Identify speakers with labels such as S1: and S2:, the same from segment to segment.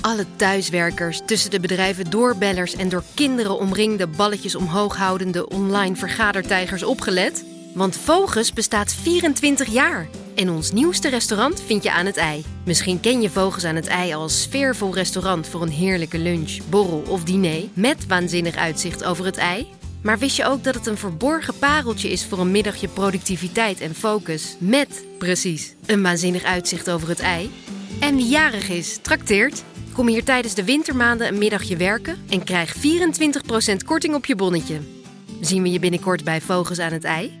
S1: alle thuiswerkers, tussen de bedrijven doorbellers en door kinderen omringde balletjes omhoog houdende online vergadertijgers opgelet? Want Vogus bestaat 24 jaar en ons nieuwste restaurant vind je aan het ei. Misschien ken je Vogus aan het ei als sfeervol restaurant voor een heerlijke lunch, borrel of diner met waanzinnig uitzicht over het ei. Maar wist je ook dat het een verborgen pareltje is voor een middagje productiviteit en focus? Met, precies, een waanzinnig uitzicht over het ei. En wie jarig is, trakteert. Kom hier tijdens de wintermaanden een middagje werken en krijg 24% korting op je bonnetje. Zien we je binnenkort bij Vogels aan het Ei?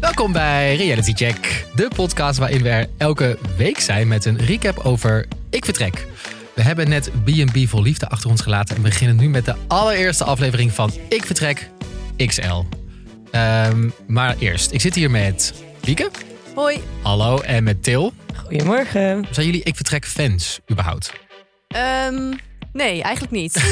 S2: Welkom bij Reality Check, de podcast waarin we er elke week zijn met een recap over Ik Vertrek. We hebben net B&B Vol Liefde achter ons gelaten en beginnen nu met de allereerste aflevering van Ik Vertrek XL. Ehm, maar eerst, ik zit hier met Lieke,
S3: Hoi.
S2: hallo, en met Til.
S3: Goedemorgen.
S2: Zijn jullie Ik Vertrek fans überhaupt?
S3: Ehm, nee, eigenlijk niet.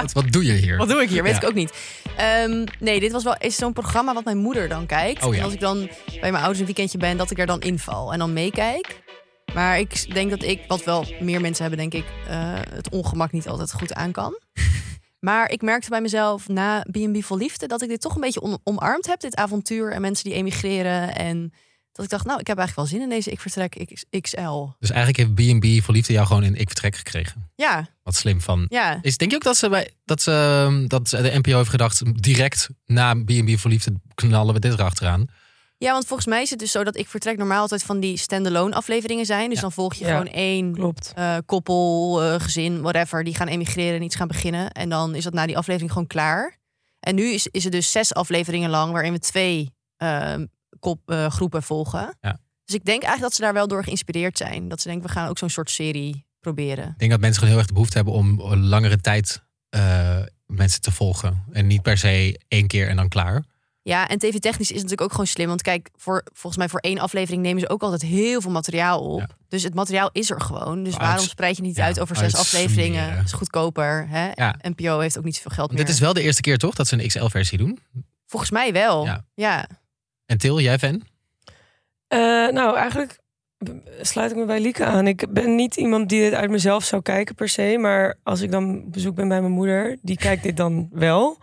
S2: Wat, wat doe je hier?
S3: Wat doe ik hier? Weet
S2: Ja.
S3: ik ook niet. Ehm, nee, dit was wel is zo'n programma wat mijn moeder dan kijkt.
S2: Oh ja.
S3: En als ik dan bij mijn ouders een weekendje ben, dat ik er dan inval en dan meekijk. Maar ik denk dat ik, wat wel meer mensen hebben, denk ik, eh, het ongemak niet altijd goed aan kan. Maar ik merkte bij mezelf na B&B Vol Liefde dat ik dit toch een beetje on- omarmd heb. Dit avontuur en mensen die emigreren. En dat ik dacht, nou, ik heb eigenlijk wel zin in deze Ik Vertrek X- XL.
S2: Dus eigenlijk heeft B&B Vol Liefde jou gewoon in Ik Vertrek gekregen.
S3: Ja,
S2: Wat slim van
S3: ja.
S2: Is, denk je ook dat ze, bij, dat, ze, ehm, dat ze de NPO heeft gedacht... direct na B&B voor Liefde knallen we dit erachteraan?
S3: Ja, want volgens mij is het dus zo dat ik vertrek normaal altijd van die standalone afleveringen zijn. Dus dan volg je
S4: Ja.
S3: gewoon één
S4: Klopt.
S3: eh, koppel, eh, gezin, whatever. Die gaan emigreren en iets gaan beginnen. En dan is dat na die aflevering gewoon klaar. En nu is, is het dus zes afleveringen lang waarin we twee eh, kop, eh, groepen volgen.
S2: Ja.
S3: Dus ik denk eigenlijk dat ze daar wel door geïnspireerd zijn. Dat ze denken, we gaan ook zo'n soort serie proberen.
S2: Ik denk dat mensen gewoon heel erg de behoefte hebben... om langere tijd eh, mensen te volgen. En niet per se één keer en dan klaar.
S3: Ja, en tv-technisch is het natuurlijk ook gewoon slim. Want kijk, voor, volgens mij voor één aflevering nemen ze ook altijd heel veel materiaal op.
S2: Ja.
S3: Dus het materiaal is er gewoon. Dus
S2: Maar
S3: waarom
S2: uits-
S3: spreid je niet
S2: ja,
S3: uit over zes
S2: uitsmeren.
S3: afleveringen? Het is goedkoper. Hè?
S2: Ja.
S3: NPO heeft ook niet zoveel geld
S2: Want
S3: meer.
S2: dit is wel de eerste keer toch dat ze een XL-versie doen?
S3: Volgens mij wel.
S2: Ja.
S3: Ja.
S2: En Til, jij fan?
S4: Eh, nou, eigenlijk b- sluit ik me bij Lieke aan. Ik ben niet iemand die dit uit mezelf zou kijken per se. Maar als ik dan op bezoek ben bij mijn moeder, die kijkt dit dan wel.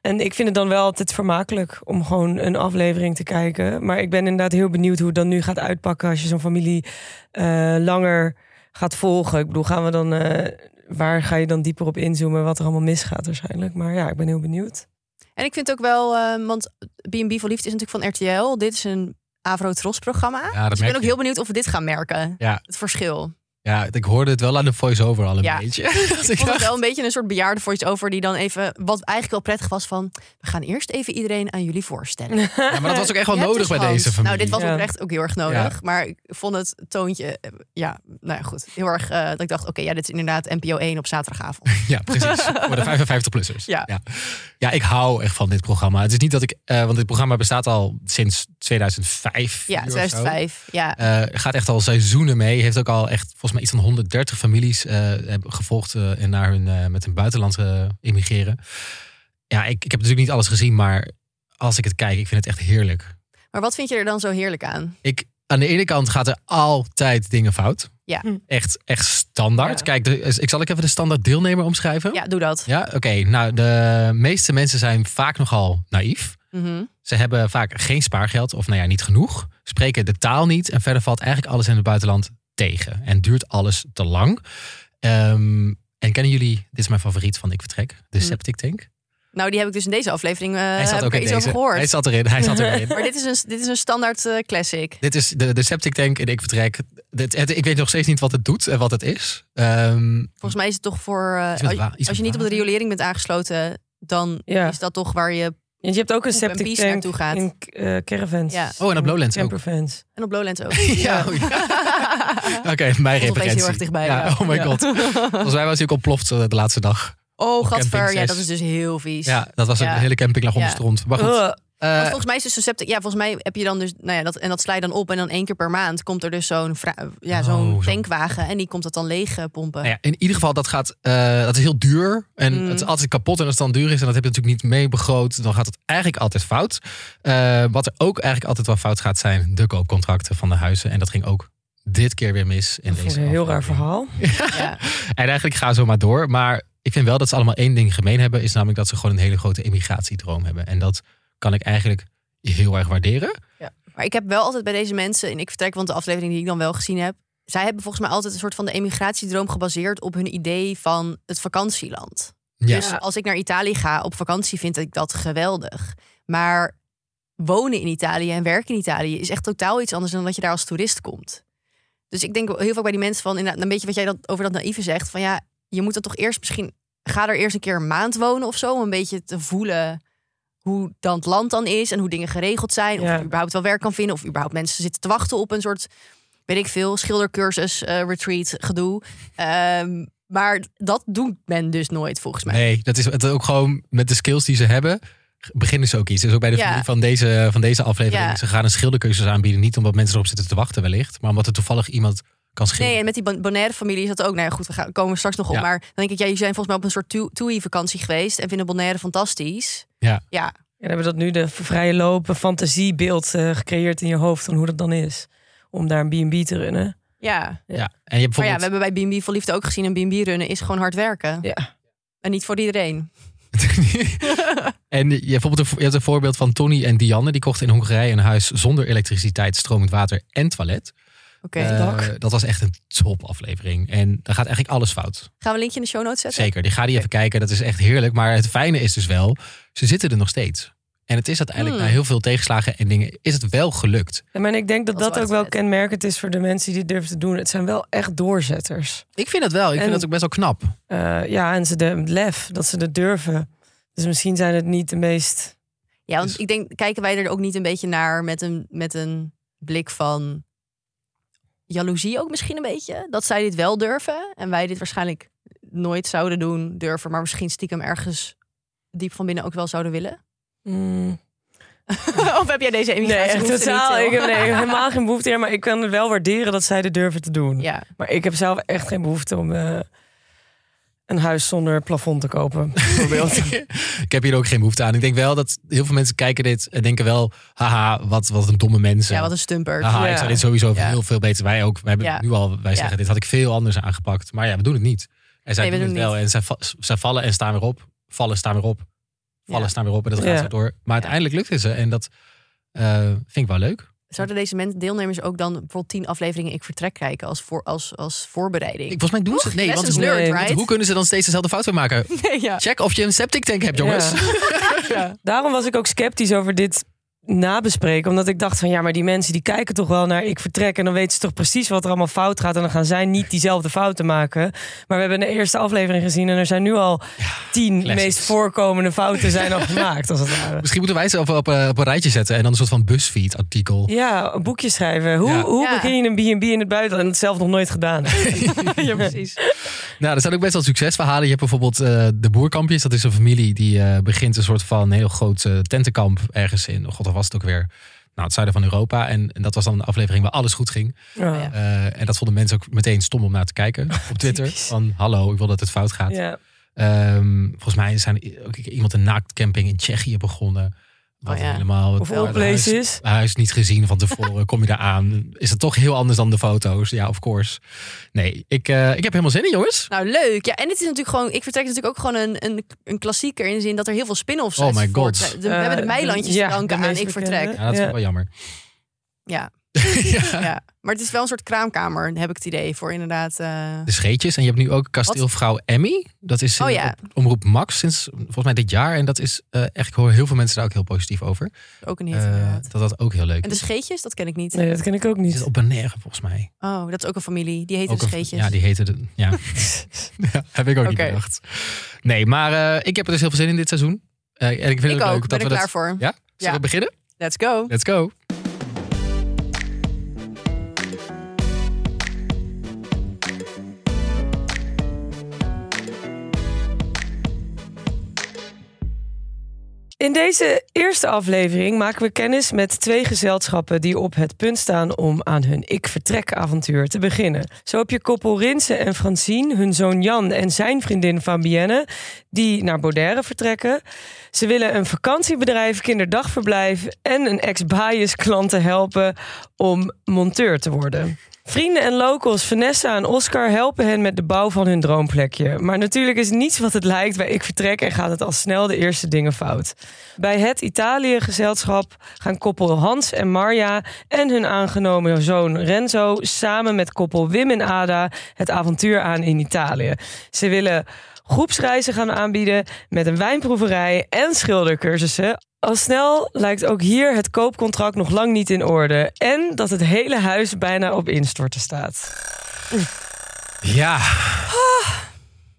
S4: En ik vind het dan wel altijd vermakelijk om gewoon een aflevering te kijken. Maar ik ben inderdaad heel benieuwd hoe het dan nu gaat uitpakken als je zo'n familie eh, langer gaat volgen. Ik bedoel, gaan we dan. eh, Waar ga je dan dieper op inzoomen wat er allemaal misgaat waarschijnlijk? Maar ja, ik ben heel benieuwd.
S3: En ik vind ook wel, eh, want B&B voor Liefde is natuurlijk van RTL. Dit is een Avro-Tros-programma.
S2: Ja, dat
S3: dus ik ben
S2: merk
S3: ook
S2: je.
S3: heel benieuwd of we dit gaan merken.
S2: Ja.
S3: Het verschil.
S2: Ja, ik hoorde het wel aan de voice-over al een
S3: Ja.
S2: beetje. Dat
S3: Ik vond het
S2: dacht,
S3: wel een beetje een soort bejaarde voice-over die dan even, wat eigenlijk wel prettig was van, we gaan eerst even iedereen aan jullie voorstellen.
S2: ja, maar dat was ook echt wel
S3: Ja, het
S2: nodig
S3: is
S2: bij
S3: gewoon-
S2: deze familie.
S3: Nou, dit was
S4: Ja.
S3: oprecht ook heel erg nodig. Maar ik vond het toontje, eh, ja, nou ja, goed. Heel erg eh, dat ik dacht, oké, ja, dit is inderdaad NPO 1 op zaterdagavond.
S2: Ja, precies. Voor de 55-plussers.
S3: Ja.
S2: Ja. ja, ik hou echt van dit programma. Het is niet dat ik... eh, want dit programma bestaat al sinds 2005.
S3: Ja,
S2: hier of zo.
S3: 2005. Ja,
S2: Eh, gaat echt al seizoenen mee. Heeft ook al echt volgens mij iets van 130 families eh, hebben gevolgd eh, en naar hun eh, met hun buitenland eh, immigreren. Ja, ik, ik heb natuurlijk niet alles gezien, maar als ik het kijk, ik vind het echt heerlijk.
S3: maar wat vind je er dan zo heerlijk aan?
S2: Ik, aan de ene kant gaat er altijd dingen fout.
S3: Ja.
S4: Hm.
S2: Echt, echt standaard.
S4: Ja.
S2: Kijk, de, ik zal ik even de standaard deelnemer omschrijven.
S3: Ja, doe dat.
S2: Ja, oké. Nou, de meeste mensen zijn vaak nogal naïef.
S3: Mhm.
S2: Ze hebben vaak geen spaargeld, of nou ja, niet genoeg. Spreken de taal niet. En verder valt eigenlijk alles in het buitenland tegen. En duurt alles te lang. Ehm, en kennen jullie, dit is mijn favoriet van Ik Vertrek, de
S3: Hm.
S2: Septic Tank.
S3: Nou, die heb ik dus in deze aflevering eh,
S2: hij zat
S3: heb
S2: ook
S3: ik er
S2: in
S3: iets
S2: deze.
S3: over gehoord.
S2: Hij zat erin, hij zat erin.
S3: Maar dit is een, dit is een standaard eh, classic.
S2: Dit is de, de Septic Tank en Ik Vertrek. Dit, het- ik weet nog steeds niet wat het doet en wat het is. Ehm,
S3: Volgens mij is het toch voor, eh,
S2: Iets met
S3: als,
S2: wa- iets
S3: als
S2: met
S3: je niet op de
S2: water.
S3: riolering bent aangesloten, dan
S4: Ja.
S3: is dat toch waar je,
S4: En je hebt ook een
S3: Hoe One
S4: septic
S3: Piece
S4: tank
S3: naartoe gaat.
S4: in eh, caravans.
S3: Ja.
S2: Oh, en op
S4: En
S2: Lowlands ook.
S4: campervans.
S3: en op Lowlands ook.
S2: ja, oh ja.
S3: Ja.
S2: Nou, mijn
S3: opeens
S2: referentie.
S3: heel erg dichtbij,
S2: Ja,
S3: ja.
S2: Oh my
S3: Ja.
S2: god. Volgens mij was hij ook ontploft eh, de laatste dag.
S3: Oh, gadver.
S2: camping
S3: Ja,
S2: zes.
S3: dat is dus heel vies.
S2: Ja, dat was
S3: Ja.
S2: een hele camping lag onder
S3: Ja.
S2: stront. Maar goed.
S4: Ugh.
S2: eh,
S3: Want volgens mij is dus susceptible. Ja, volgens mij heb je dan dus. Nou ja, dat, en dat sla je dan op. En dan één keer per maand komt er dus zo'n vra- ja,
S2: Oh,
S3: zo'n
S2: zo'n-
S3: tankwagen. En die komt dat dan leeg eh, pompen.
S2: nou ja, in ieder geval, dat, gaat, eh, dat is heel duur. En
S3: Mm.
S2: het is altijd kapot. En als het dan duur is en dat heb je natuurlijk niet mee begroot, dan gaat het eigenlijk altijd fout. Eh, wat er ook eigenlijk altijd wel fout gaat zijn, de koopcontracten van de huizen. En dat ging ook dit keer weer mis. In
S4: Dat vond
S2: deze
S4: ik een heel raar
S2: aflevering.
S4: verhaal.
S3: Ja.
S2: En eigenlijk ga zo maar door. Maar ik vind wel dat ze allemaal één ding gemeen hebben. Is namelijk dat ze gewoon een hele grote immigratiedroom hebben. En dat kan ik eigenlijk heel erg waarderen.
S3: Maar ik heb wel altijd bij deze mensen. En ik vertrek, want de aflevering die ik dan wel gezien heb. Zij hebben volgens mij altijd een soort van de emigratiedroom gebaseerd op hun idee van het vakantieland.
S2: Ja.
S3: Dus als ik naar Italië ga op vakantie, vind ik dat geweldig. Maar wonen in Italië en werken in Italië is echt totaal iets anders dan dat je daar als toerist komt. Dus ik denk heel vaak bij die mensen van, inderdaad, een beetje wat jij dat, over dat naïeve zegt, van ja, je moet dat toch eerst misschien, ga er eerst een keer een maand wonen of zo, om een beetje te voelen hoe dan het land dan is en hoe dingen geregeld zijn, of
S4: Ja.
S3: je überhaupt wel werk kan vinden, of überhaupt mensen zitten te wachten op een soort, weet ik veel, schildercursus, eh, retreat, gedoe. Ehm, maar dat doet men dus nooit volgens mij.
S2: Nee, dat is het ook gewoon met de skills die ze hebben. Beginnen ze ook iets. Dus ook bij de
S3: Ja.
S2: familie van deze, van deze aflevering.
S3: Ja.
S2: Ze gaan een schildercursus aanbieden. Niet omdat mensen erop zitten te wachten wellicht. Maar omdat er toevallig iemand kan schilderen.
S3: Nee, en met die Bon- Bonaire-familie is dat ook. Nou ja, goed, we gaan, komen we straks nog op.
S2: Ja.
S3: Maar dan denk ik, ja, jullie zijn volgens mij op een soort Tui- TUI-vakantie geweest... en vinden Bonaire fantastisch.
S2: Ja.
S3: Ja,
S4: En hebben dat nu de vrije lopen fantasiebeeld eh, gecreëerd in je hoofd van hoe dat dan is. Om daar een B&B te runnen.
S3: ja.
S2: ja. En je hebt
S3: Maar Oh ja, we
S2: bijvoorbeeld...
S3: hebben bij B&B voor Liefde ook gezien... een B&B-runnen is gewoon hard werken.
S4: Ja.
S3: En niet voor iedereen.
S2: en je hebt, bijvoorbeeld een, vo- je hebt een voorbeeld van Tony en Dianne. Die kochten in Hongarije een huis zonder elektriciteit, stromend water en toilet.
S3: Oké.
S2: Eh,
S4: dak.
S2: dat was echt een top aflevering. En daar gaat eigenlijk alles fout.
S3: Gaan we een linkje in de show notes zetten?
S2: Zeker, die ga die even kijken. Dat is echt heerlijk. Maar het fijne is dus wel, ze zitten er nog steeds. En het is uiteindelijk
S3: Hmm.
S2: na heel veel tegenslagen en dingen, is het wel gelukt.
S4: Ja, maar ik denk dat
S3: Dat is
S4: dat,
S3: wel
S4: ook
S3: echt
S4: wel
S3: vet.
S4: kenmerkend is voor de mensen die dit durven te doen. Het zijn wel echt doorzetters.
S2: Ik vind dat wel. Ik
S4: En-
S2: vind dat ook best wel knap.
S4: Eh, ja, en ze de het lef, dat ze dat durven. Dus misschien zijn het niet de meest...
S3: Ja, want
S2: Dus-
S3: ik denk, kijken wij er ook niet een beetje naar... met een, met een blik van jaloezie ook misschien een beetje? Dat zij dit wel durven en wij dit waarschijnlijk nooit zouden doen, durven... maar misschien stiekem ergens diep van binnen ook wel zouden willen?
S4: Mm.
S3: of heb jij deze
S4: Nee,
S3: emigratie?
S4: echt totaal. Ik heb nee, helemaal geen behoefte aan. Maar ik kan het wel waarderen dat zij dit durven te doen.
S3: Ja,
S4: Maar ik heb zelf echt geen behoefte om eh, een huis zonder plafond te kopen. Bijvoorbeeld.
S2: ik heb hier ook geen behoefte aan. Ik denk wel dat heel veel mensen kijken dit en denken wel, haha, wat, wat een domme mensen.
S3: ja wat een stumper.
S2: Haha,
S4: Ja.
S2: ik zou dit sowieso
S3: Ja.
S2: heel veel beter. Wij ook. Wij hebben
S3: Ja.
S2: nu al. Wij zeggen
S3: Ja.
S2: dit had ik veel anders aangepakt. Maar ja, we doen het niet. En zij
S3: Nee, we
S2: doen het
S3: doen
S2: wel.
S3: het
S2: En zij, va- zij vallen en staan weer op. Vallen, staan weer op. Vallen,
S3: Ja.
S2: staan weer op. En dat gaat
S4: Ja.
S2: zo door. Maar uiteindelijk lukt het ze. En dat eh, vind ik wel leuk.
S3: Zouden deze mensen, deelnemers ook dan bijvoorbeeld tien afleveringen Ik Vertrek kijken als, voor, als, als voorbereiding?
S2: Ik, volgens mij doen ze het. Nee, want
S3: Lessons
S2: hoe,
S3: learned,
S4: nee,
S2: want
S3: right?
S2: hoe kunnen ze dan steeds dezelfde fout weer maken?
S3: Nee, ja.
S2: Check of je een septic tank hebt, jongens.
S4: Ja. Daarom was ik ook sceptisch over dit nabespreken. Omdat ik dacht van ja, maar die mensen die kijken toch wel naar ik vertrek. En dan weten ze toch precies wat er allemaal fout gaat. En dan gaan zij niet diezelfde fouten maken. Maar we hebben de eerste aflevering gezien. En er zijn nu al tien
S2: classics.
S4: meest voorkomende fouten zijn al gemaakt. Als het ware.
S2: Misschien moeten wij ze op, op, eh, op een rijtje zetten. En dan een soort van BuzzFeed artikel.
S4: Ja, een boekje schrijven. Hoe,
S2: Ja.
S4: hoe
S3: Ja.
S4: begin je een B&B in het buitenland? En het zelf nog nooit gedaan.
S3: ja, precies.
S2: Nou, er zijn ook best wel succesverhalen. Je hebt bijvoorbeeld eh, de Boerkampjes. Dat is een familie die eh, begint een soort van heel groot eh, tentenkamp ergens in. oh God, dat was het ook weer. Nou, het zuiden van Europa. En, en dat was dan een aflevering waar alles goed ging.
S4: Ja.
S3: Ja.
S2: Eh, en dat vonden mensen ook meteen stom om naar te kijken op Twitter.
S4: Typisch.
S2: Van hallo, ik wil dat het fout gaat.
S4: Ja.
S2: Ehm, volgens mij zijn i- ook iemand een naaktcamping in Tsjechië begonnen. Wat
S3: Oh ja.
S2: helemaal.
S4: Of
S2: het
S4: all
S2: huis,
S4: places.
S2: huis niet gezien van tevoren. Kom je daar aan? Is het toch heel anders dan de foto's? Ja, of course. Nee, ik, eh, ik heb helemaal zin in, jongens.
S3: Nou, leuk. Ja, en het is natuurlijk gewoon, ik vertrek is natuurlijk ook gewoon een, een, een klassieker in de zin dat er heel veel spin-offs
S2: Oh
S3: uit
S2: my god.
S3: voort zijn. De- we
S4: Eh,
S3: hebben de
S4: de-
S3: meilandjes
S4: ja,
S3: te danken
S4: de
S3: aan
S4: meest
S3: Ik Vertrek.
S4: bekende.
S2: Ja, dat is
S4: Ja.
S2: wel jammer.
S3: Ja,
S2: ja.
S3: ja, maar het is wel een soort kraamkamer, heb ik het idee, voor inderdaad... eh,
S2: De scheetjes. En je hebt nu ook kasteelvrouw Emmy. Dat is
S3: Oh
S2: eh,
S3: ja.
S2: op omroep Max sinds volgens mij dit jaar. En dat is eh, echt, ik hoor heel veel mensen daar ook heel positief over.
S3: ook een hit,
S2: Eh,
S3: inderdaad.
S2: dat dat ook heel leuk
S3: En de
S2: is.
S3: scheetjes, dat ken ik niet.
S4: Nee, dat ken ik ook niet.
S2: Is op Bonaire volgens mij.
S3: Oh, dat is ook een familie. Die heet
S2: Ook
S3: de
S2: een-
S3: scheetjes.
S2: Ja, die heette de, ja. ja, heb ik ook niet
S3: Oké.
S2: bedacht. Nee, maar eh, ik heb er dus heel veel zin in dit seizoen. Eh, en ik vind
S3: ik
S2: het
S3: ook.
S2: leuk
S3: ben
S2: dat
S3: er
S2: we
S3: klaar
S2: dat...
S3: voor.
S2: Ja? Zullen
S3: Ja.
S2: we beginnen?
S3: Let's go.
S2: Let's go.
S4: In deze eerste aflevering maken we kennis met twee gezelschappen die op het punt staan om aan hun ik vertrek avontuur te beginnen. Zo heb je koppel Rinse en Francine, hun zoon Jan en zijn vriendin Fabienne, die naar Baudaire vertrekken. Ze willen een vakantiebedrijf, kinderdagverblijf en een ex-bias klanten helpen om monteur te worden. Vrienden en locals Vanessa en Oscar helpen hen met de bouw van hun droomplekje. Maar natuurlijk is niets wat het lijkt bij Ik Vertrek en gaat het al snel de eerste dingen fout. Bij het Italië-gezelschap gaan koppel Hans en Marja en hun aangenomen zoon Renzo samen met koppel Wim en Ada het avontuur aan in Italië. Ze willen groepsreizen gaan aanbieden met een wijnproeverij en schildercursussen. Al snel lijkt ook hier het koopcontract nog lang niet in orde. En dat het hele huis bijna op instorten staat.
S2: Ja,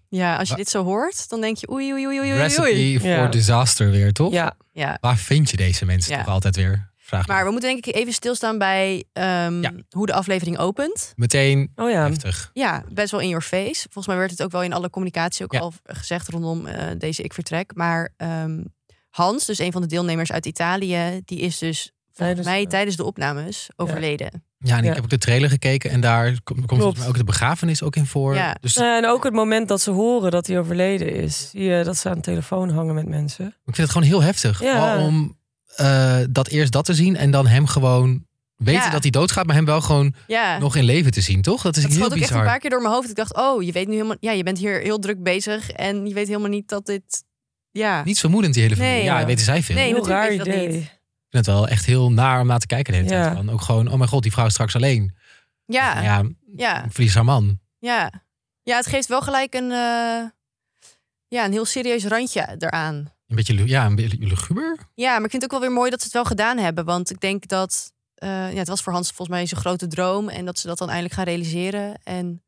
S3: Ja, als je dit zo hoort, dan denk je oei, oei, oei, oei, oei, oei.
S2: Ah. recipe for
S4: Ja.
S2: disaster weer, toch?
S4: Ja,
S3: Ja.
S2: Waar vind je deze mensen
S3: Ja.
S2: toch altijd weer? Vraag
S3: Maar
S2: maar...
S3: we moeten denk ik even stilstaan bij ehm,
S2: Ja.
S3: hoe de aflevering opent.
S2: Meteen
S4: oh ja.
S2: heftig.
S3: Ja, best wel in your face. Volgens mij werd het ook wel in alle communicatie ook
S2: Ja.
S3: al gezegd rondom eh, deze Ik Vertrek. Maar ehm, Hans, dus een van de deelnemers uit Italië, die is dus volgens
S4: Tijdens-
S3: mij tijdens de opnames overleden.
S2: Ja, en ik
S4: Ja.
S2: heb ook de trailer gekeken en daar kom- komt volgens mij ook de begrafenis ook in voor.
S3: Ja.
S2: Dus
S4: Nou ja, En ook het moment dat ze horen dat hij overleden is. Zie je dat ze aan de telefoon hangen met mensen.
S2: ik vind het gewoon heel heftig.
S4: Ja.
S2: Al Om eh, dat eerst dat te zien en dan hem gewoon weten
S3: Ja.
S2: dat hij doodgaat, maar hem wel gewoon
S3: Ja,
S2: nog in leven te zien, toch? Dat is
S3: dat
S2: heel
S3: schoot ook echt een
S2: bizar.
S3: paar keer door mijn hoofd. Ik dacht, oh, je weet nu helemaal, ja, je bent hier heel druk bezig en je weet helemaal niet dat dit, ja.
S2: Niet vermoedend, die hele
S3: Nee,
S2: familie. ja,
S4: ja.
S2: weten zij veel.
S3: Nee,
S4: Heel
S3: natuurlijk
S4: raar
S3: weet je dat
S4: idee.
S3: niet.
S2: Ik vind het wel echt heel naar om naar te kijken de hele
S4: Ja.
S2: tijd. Van ook gewoon, oh mijn god, die vrouw is straks alleen.
S3: Ja, ja,
S2: Ja,
S3: ja,
S2: verlies haar man.
S3: ja. het geeft wel gelijk een, eh, ja, een heel serieus randje eraan.
S2: Een beetje, lu- ja, een beetje luguber.
S3: Ja, maar ik vind het ook wel weer mooi dat ze het wel gedaan hebben. Want ik denk dat eh, ja, het was voor Hans volgens mij zijn grote droom. En dat ze dat dan eindelijk gaan realiseren. En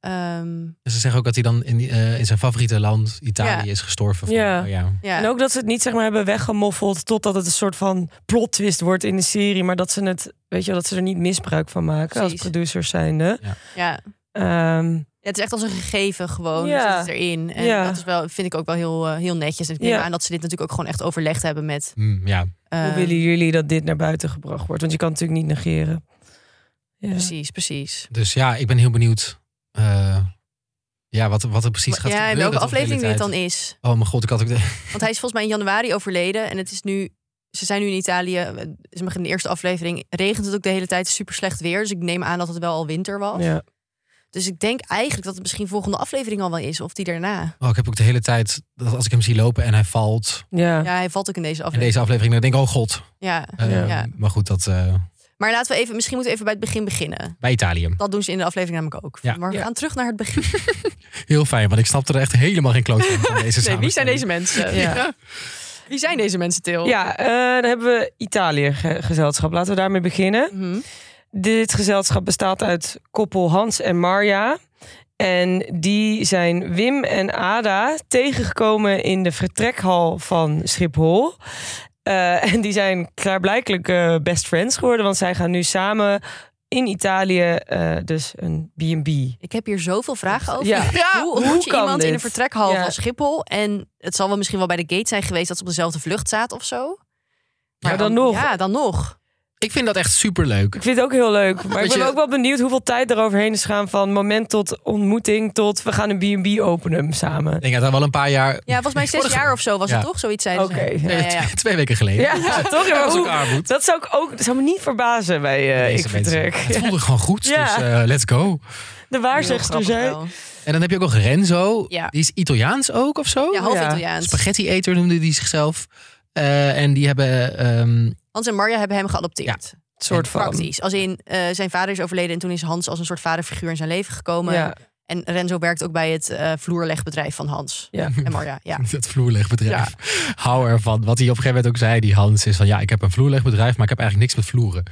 S3: ehm,
S2: En Dus ze zeggen ook dat hij dan in, die- eh, in zijn favoriete land, Italië,
S3: Ja.
S2: is gestorven.
S4: Ja.
S2: Oh, ja.
S3: ja,
S4: En ook dat ze het niet zeg maar hebben weggemoffeld totdat het een soort van plot twist wordt in de serie. Maar dat ze het, weet je wel, dat ze er niet misbruik van maken als
S3: Precies.
S4: producers zijnde.
S3: ja.
S4: Ehm,
S3: Ja, het is echt als een gegeven gewoon.
S4: Ja.
S3: Het zit erin. En
S4: Ja.
S3: dat is wel, vind ik ook wel heel, eh, heel netjes. En ik neem
S4: Ja.
S3: aan dat ze dit natuurlijk ook gewoon echt overlegd hebben met...
S2: Hm, ja.
S3: eh,
S4: hoe willen jullie dat dit naar buiten gebracht wordt? Want je kan het natuurlijk niet negeren. Ja.
S3: Precies, precies.
S2: Dus ja, ik ben heel benieuwd eh, ja, wat, wat er precies gaat
S3: ja,
S2: gebeuren.
S3: en welke
S2: toch de hele
S3: aflevering dit dan
S2: tijd.
S3: is.
S2: Oh mijn god, ik had ook... De...
S3: Want hij is volgens mij in januari overleden. En het is nu... Ze zijn nu in Italië. eh, Ze beginnen de eerste aflevering. Regent het ook de hele tijd. Super slecht weer. Dus ik neem aan dat het wel al winter was.
S4: Ja.
S3: Dus ik denk eigenlijk dat het misschien volgende aflevering al wel is, of die daarna.
S2: Oh, ik heb ook de hele tijd, dat als ik hem zie lopen en hij valt...
S4: Ja.
S3: Ja, hij valt ook in deze
S2: In
S3: aflevering.
S2: deze aflevering, dan denk ik, oh god.
S3: Ja,
S2: Eh,
S4: Ja.
S3: ja.
S2: Maar goed, dat eh,
S3: Maar laten we even, misschien moeten we even bij het begin beginnen.
S2: bij Italië.
S3: Dat doen ze in de aflevering namelijk ook.
S2: Ja.
S3: Maar we
S4: Ja.
S3: gaan terug naar het begin.
S2: Heel fijn, want ik snapte er echt helemaal geen kloot van, van deze
S3: Nee, wie zijn
S2: samenstelling.
S3: deze mensen?
S4: Ja.
S3: Ja. Wie zijn deze mensen, Til?
S4: Ja, eh, dan hebben we Italië ge- gezelschap. Laten we daarmee beginnen.
S3: Mhm.
S4: Dit gezelschap bestaat uit koppel Hans en Marja. En die zijn Wim en Ada tegengekomen in de vertrekhal van Schiphol. Eh, en die zijn klaarblijkelijk eh, best friends geworden, want zij gaan nu samen in Italië eh, dus een B&B.
S3: Ik heb hier zoveel vragen over.
S4: Ja.
S3: Hoe
S4: Hoe
S3: ontmoet je
S4: kan
S3: iemand in
S4: dit?
S3: een vertrekhal
S4: Ja.
S3: van Schiphol? En het zal wel misschien wel bij de gate zijn geweest dat ze op dezelfde vlucht zaten of zo.
S4: Maar dan nog.
S3: Ja, dan nog.
S2: Ik vind dat echt superleuk.
S4: Ik vind het ook heel leuk. Maar ik
S2: Weet
S4: ben
S2: je-
S4: ook wel benieuwd hoeveel tijd er overheen is gaan van moment tot ontmoeting tot we gaan een B&B openen samen.
S2: Ik denk dat dat wel een paar jaar...
S3: Ja, volgens mij zes
S2: Vorige-
S3: jaar of zo was
S2: Ja.
S3: het toch? Zoiets zeiden ze.
S4: Oké, ja.
S3: Ja, ja, ja.
S2: Twee, twee weken geleden.
S4: Ja, toch? Ja, maar
S2: Dat was
S4: hoe-
S2: ook armoed.
S4: dat zou ik ook, dat zou me niet verbazen bij eh
S2: Deze
S4: Ik Vertrek.
S2: mensen. Het voelde gewoon goed,
S4: Ja.
S2: dus eh, let's go.
S4: De
S3: Heel
S4: waarzegster
S3: grappig
S4: zei.
S3: wel.
S2: En dan heb je ook nog Renzo.
S3: Ja.
S2: Die is Italiaans ook of zo?
S3: Ja, half
S4: Ja.
S3: Italiaans.
S2: Spaghetti-eter noemde hij zichzelf. Eh, en die hebben... ehm,
S3: Hans en Marja hebben hem geadopteerd.
S4: soort van.
S3: Praktisch. Als in, eh, zijn vader is overleden en toen is Hans als een soort vaderfiguur in zijn leven gekomen.
S4: Ja.
S3: En Renzo werkt ook bij het eh, vloerlegbedrijf van Hans
S4: Ja.
S3: en Marja. Ja.
S2: Dat vloerlegbedrijf. Hou ervan. Wat hij op een gegeven moment ook zei, die Hans, is van... Ja, ik heb een vloerlegbedrijf, maar ik heb eigenlijk niks met vloeren.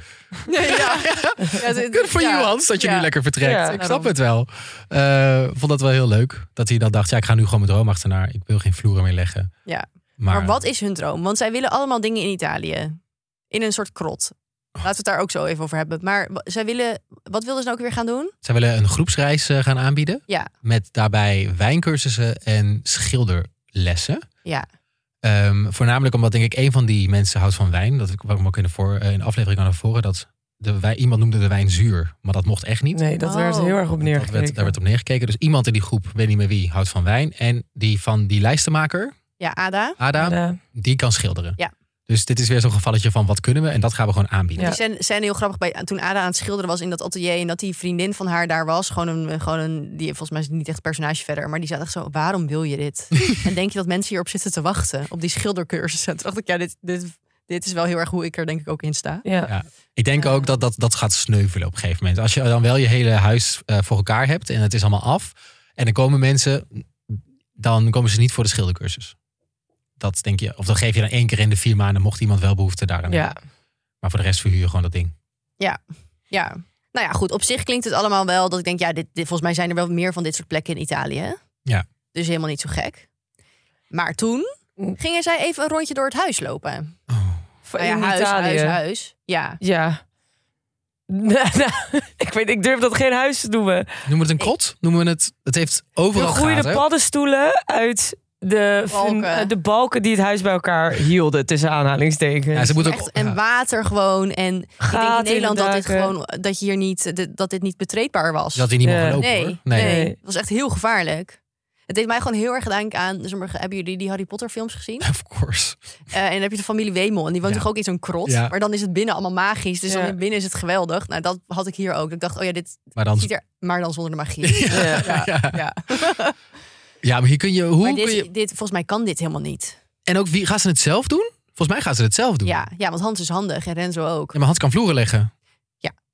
S3: Nee, ja.
S2: Good for you, Hans, dat je
S3: Eh, Ja.
S2: nu lekker vertrekt.
S4: Ja,
S2: ik snap
S3: daarom.
S2: het wel. Eh, vond dat wel heel leuk. Dat hij dan dacht, ja, ik ga nu gewoon mijn droom achterna. Ik wil geen vloeren meer leggen.
S3: Ja.
S2: Maar,
S3: Maar... wat is hun droom? Want zij willen allemaal dingen in Italië. In een soort krot. Laten we het daar ook zo even over hebben. Maar w- zij willen, wat wilden ze nou ook weer gaan doen?
S2: Zij willen een groepsreis eh, gaan aanbieden.
S3: Ja.
S2: Met daarbij wijncursussen en schilderlessen.
S3: Ja.
S2: Ehm, voornamelijk omdat denk ik een van die mensen houdt van wijn. Dat ik me ook in de, voor, eh, in de aflevering al naar voren. Dat de, wij, iemand noemde de wijn zuur. Maar dat mocht echt niet.
S4: Nee, dat
S3: Oh.
S4: werd heel
S2: dat
S4: erg op
S2: werd,
S4: neergekeken.
S2: daar werd op neergekeken. Dus iemand in die groep, weet niet meer wie, houdt van wijn. En die van die lijstenmaker,
S3: Ja, Ada.
S2: Ada,
S4: Ja.
S2: die kan schilderen.
S3: Ja.
S2: Dus dit is weer zo'n gevalletje van wat kunnen we? En dat gaan we gewoon aanbieden.
S4: Ja.
S3: Die scène, scène heel grappig bij, toen Ada aan het schilderen was in dat atelier en dat die vriendin van haar daar was. Gewoon een, gewoon een die volgens mij is het niet echt een personage verder, maar die zei echt zo: waarom wil je dit? en denk je dat mensen hierop zitten te wachten op die schildercursus? En toen dacht ik, ja, dit, dit, dit is wel heel erg hoe ik er denk ik ook in sta.
S4: Ja.
S2: Ja. Ik denk ook dat, dat dat gaat sneuvelen op een gegeven moment. Als je dan wel je hele huis eh, voor elkaar hebt en het is allemaal af. En dan komen mensen, dan komen ze niet voor de schildercursus. Dat denk je. Of dan geef je dan één keer in de vier maanden, mocht iemand wel behoefte daaraan
S4: Ja.
S2: hebben. Maar voor de rest verhuur je gewoon dat ding.
S3: Ja. Nou ja, goed. Op zich klinkt het allemaal wel dat ik denk, ja, dit, dit, volgens mij zijn er wel meer van dit soort plekken in Italië.
S2: Ja.
S3: Dus helemaal niet zo gek. Maar toen
S4: Mm.
S3: gingen zij even een rondje door het huis lopen. Nou ja,
S4: In
S3: huis,
S4: Italië.
S3: huis, huis. Ja.
S4: Ja. ik weet, ik durf dat geen huis te noemen.
S2: Noemen we het een krot? Noemen we het, het heeft overal
S4: Gegroeide
S2: gaten.
S4: paddenstoelen uit de
S3: Balken.
S4: eh, de balken die het huis bij elkaar hielden, tussen aanhalingstekens.
S2: Ja, ze moeten ook,
S3: Echt, en water gewoon. En ik denk
S4: Gaten
S3: in Nederland dat dit
S4: in de daken.
S3: gewoon dat je hier niet dit- dat dit niet betreedbaar was.
S2: dat die niet mogen
S4: Ja.
S2: lopen
S3: nee,
S2: hoor.
S3: nee,
S4: Nee.
S3: Het was echt heel gevaarlijk. Het deed mij gewoon heel erg denken aan. zeg maar, hebben jullie die Harry Potter films gezien?
S2: Of course.
S3: Eh, en dan heb je de familie Wemel. En die woont
S2: Ja.
S3: toch ook in zo'n krot.
S2: Ja.
S3: Maar dan is het binnen allemaal magisch. Dus
S4: Ja.
S3: dan binnen is het geweldig. Nou, dat had ik hier ook. Dat Ik dacht, oh ja, dit
S2: Maar dan.
S3: ziet er maar dan zonder de magie. Ja. Ja. Ja.
S2: Ja, maar hier kun je. Hoe
S3: Maar
S2: kun je
S3: dit, dit, volgens mij kan dit helemaal niet.
S2: en ook wie gaan ze het zelf doen? Volgens mij gaan ze het zelf doen.
S3: Ja, ja, want Hans is handig en Renzo ook.
S2: Ja, maar Hans kan vloeren leggen.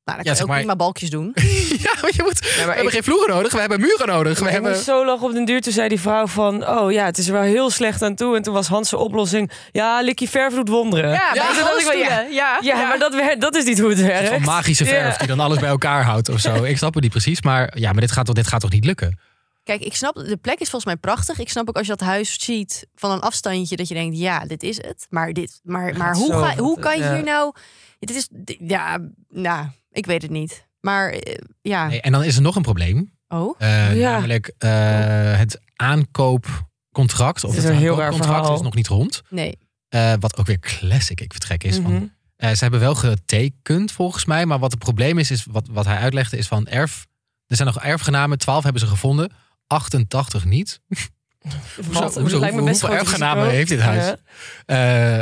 S3: Nou, dan kan
S2: zeg
S3: je ook
S2: maar-
S3: prima balkjes doen.
S2: Ja, maar je moet.
S4: Ja,
S2: we
S4: maar
S2: hebben
S4: ik-
S2: geen vloeren nodig, we hebben muren nodig. We
S4: Ik
S2: hebben...
S4: moest zo lachen op den duur. Toen zei die vrouw van, oh ja, het is er wel heel slecht aan toe. En toen was Hans' oplossing, ja, likkie verf doet wonderen.
S3: Ja,
S4: maar
S3: bij
S4: toen dacht ik wel, ja,
S3: rolstoelen, ja.
S4: ja, maar dat, wer- dat is niet hoe het
S2: Een
S4: werkt.
S2: soort van magische
S4: Ja.
S2: verf die dan alles bij elkaar houdt of zo. Ik snap het niet precies, maar, ja, maar dit, gaat toch, dit gaat toch niet lukken?
S3: Kijk, ik snap, de plek is volgens mij prachtig. Ik snap ook als je dat huis ziet van een afstandje, dat je denkt, ja, dit is het. Maar, dit, maar, maar
S4: gaat
S3: hoe,
S4: zo
S3: ga,
S4: goed,
S3: hoe kan je
S4: ja.
S3: hier nou... Dit is, dit- ja, nou, ik weet het niet. Maar eh, ja,
S2: Nee, en dan is er nog een probleem.
S3: oh.
S2: Eh,
S4: Ja.
S2: Namelijk eh, het aankoopcontract. Of
S4: Het
S2: het,
S4: is een heel raar
S2: aankoopcontract
S4: verhaal.
S2: is nog niet rond.
S3: Nee,
S2: Eh, wat ook weer classic ik vertrek is. van,
S4: Mhm.
S2: eh, ze hebben wel getekend volgens mij. Maar wat het probleem is, is wat, wat hij uitlegde, is van erf. Er zijn nog erfgenamen. 12 hebben ze gevonden. 88 niet. Hoezo-
S4: Wat?
S2: hoezo-
S4: Dat lijkt me best
S2: hoeveel
S4: groot
S2: erfgenamen
S4: risico.
S2: heeft dit huis?
S4: Ja.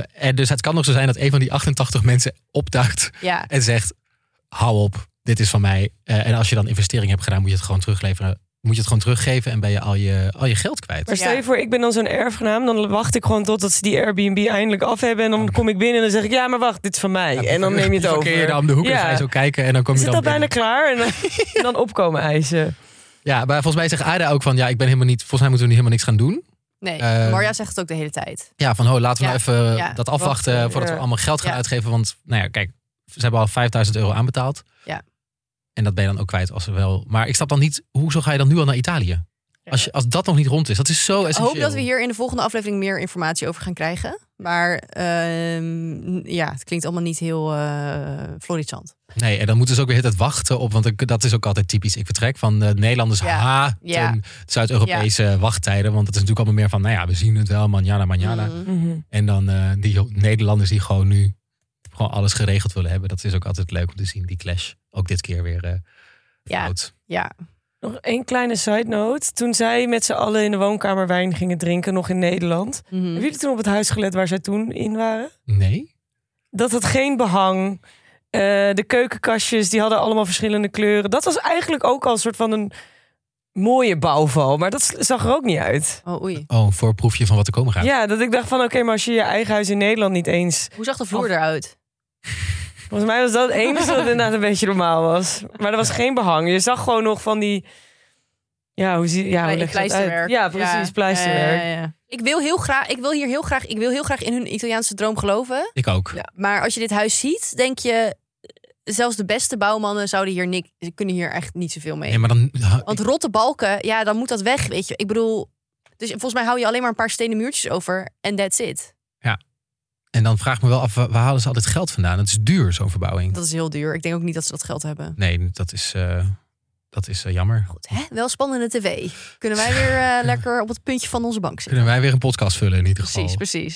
S2: Eh, en dus het kan nog zo zijn dat een van die 88 mensen opduikt
S3: ja.
S2: en zegt: hou op, dit is van mij. Eh, en als je dan investering hebt gedaan, moet je het gewoon terugleveren. Moet je het gewoon teruggeven en ben je al je, al je geld kwijt.
S4: Maar stel je voor, ik ben dan zo'n erfgenaam. Dan wacht ik gewoon totdat ze die Airbnb eindelijk af hebben. En dan kom ik binnen en dan zeg ik, ja, maar wacht, dit is van mij. en dan neem je het
S2: Dan
S4: over.
S2: parkeer je dan om de hoek en
S4: Ja.
S2: ga je zo kijken en dan kom
S4: Is
S2: je
S4: het
S2: dan
S4: al bijna
S2: binnen.
S4: klaar? En dan, en dan opkomen eisen.
S2: Ja, maar volgens mij zegt Ada ook van ja, ik ben helemaal niet. Volgens mij moeten we nu helemaal niks gaan doen.
S3: Nee,
S2: Eh,
S3: Marja zegt het ook de hele tijd.
S2: Ja, van ho, laten we
S3: Ja,
S2: nou even
S3: ja, eh,
S2: dat afwachten
S4: wachten,
S2: voordat we
S4: ja.
S2: allemaal geld gaan
S3: Ja.
S2: uitgeven. Want nou ja, kijk, ze hebben al 5000 euro aanbetaald.
S3: Ja.
S2: En dat ben je dan ook kwijt als ze wel. Maar ik snap dan niet, hoezo ga je dan nu al naar Italië? Als, je, als dat nog niet rond is, dat is zo
S3: Ik
S2: essentieel.
S3: hoop dat we hier in de volgende aflevering meer informatie over gaan krijgen. Maar ehm, ja, het klinkt allemaal niet heel eh florissant.
S2: Nee, en dan moeten ze ook weer het wachten op. Want ik- dat is ook altijd typisch. Ik vertrek van eh, Nederlanders
S3: Ja,
S2: haten
S3: ja.
S2: Zuid-Europese wachttijden. Want het is natuurlijk allemaal meer van, nou ja, we zien het wel, manjana, manjana.
S3: Mm.
S4: Mhm.
S2: En dan eh, die Nederlanders die gewoon nu gewoon alles geregeld willen hebben. Dat is ook altijd leuk om te zien, die clash. Ook dit keer weer eh
S3: Ja.
S2: fout.
S3: Ja,
S4: Nog één kleine side note. Toen zij met z'n allen in de woonkamer wijn gingen drinken, nog in Nederland.
S3: Mhm.
S4: Hebben jullie toen op het huis gelet waar zij toen in waren?
S2: Nee?
S4: Dat het geen behang. eh, de keukenkastjes, die hadden allemaal verschillende kleuren. Dat was eigenlijk ook al een soort van een mooie bouwval. Maar dat s- zag er ook niet uit.
S3: oh oei.
S2: Oh, een voorproefje van wat er komen gaat.
S4: Ja, dat ik dacht van oké, maar als je je eigen huis in Nederland niet eens...
S3: Hoe zag de vloer eruit?
S4: Volgens mij was dat het enige wat inderdaad een beetje normaal was. Maar er was geen behang. Je zag gewoon nog van die... Ja, hoe zie ja, hoe
S3: Plei-
S4: leg je dat uit?
S3: pleisterwerk.
S4: Ja, precies,
S3: Ja.
S4: pleisterwerk.
S3: Ja, ja, ja. Ik wil heel graag, ik wil hier heel graag, ik wil heel graag in hun Italiaanse droom geloven.
S2: Ik ook.
S3: Maar als je dit huis ziet, denk je, eh, zelfs de beste bouwmannen zouden hier niks, ze kunnen hier echt niet zoveel mee.
S2: Nee, maar dan...
S3: Want rotte balken, ja, dan moet dat weg, weet je. Ik bedoel, dus volgens mij hou je alleen maar een paar stenen muurtjes over en that's it.
S2: En dan vraag ik me wel af, waar halen ze al dit geld vandaan? Het is duur, zo'n verbouwing.
S3: Dat is heel duur. Ik denk ook niet dat ze dat geld hebben.
S2: Nee, dat is... eh, Dat is eh, jammer.
S3: Hè? Wel spannende tv. Kunnen wij weer eh, lekker op het puntje van onze bank zitten.
S2: Kunnen wij weer een podcast vullen in ieder geval.
S3: Precies, precies.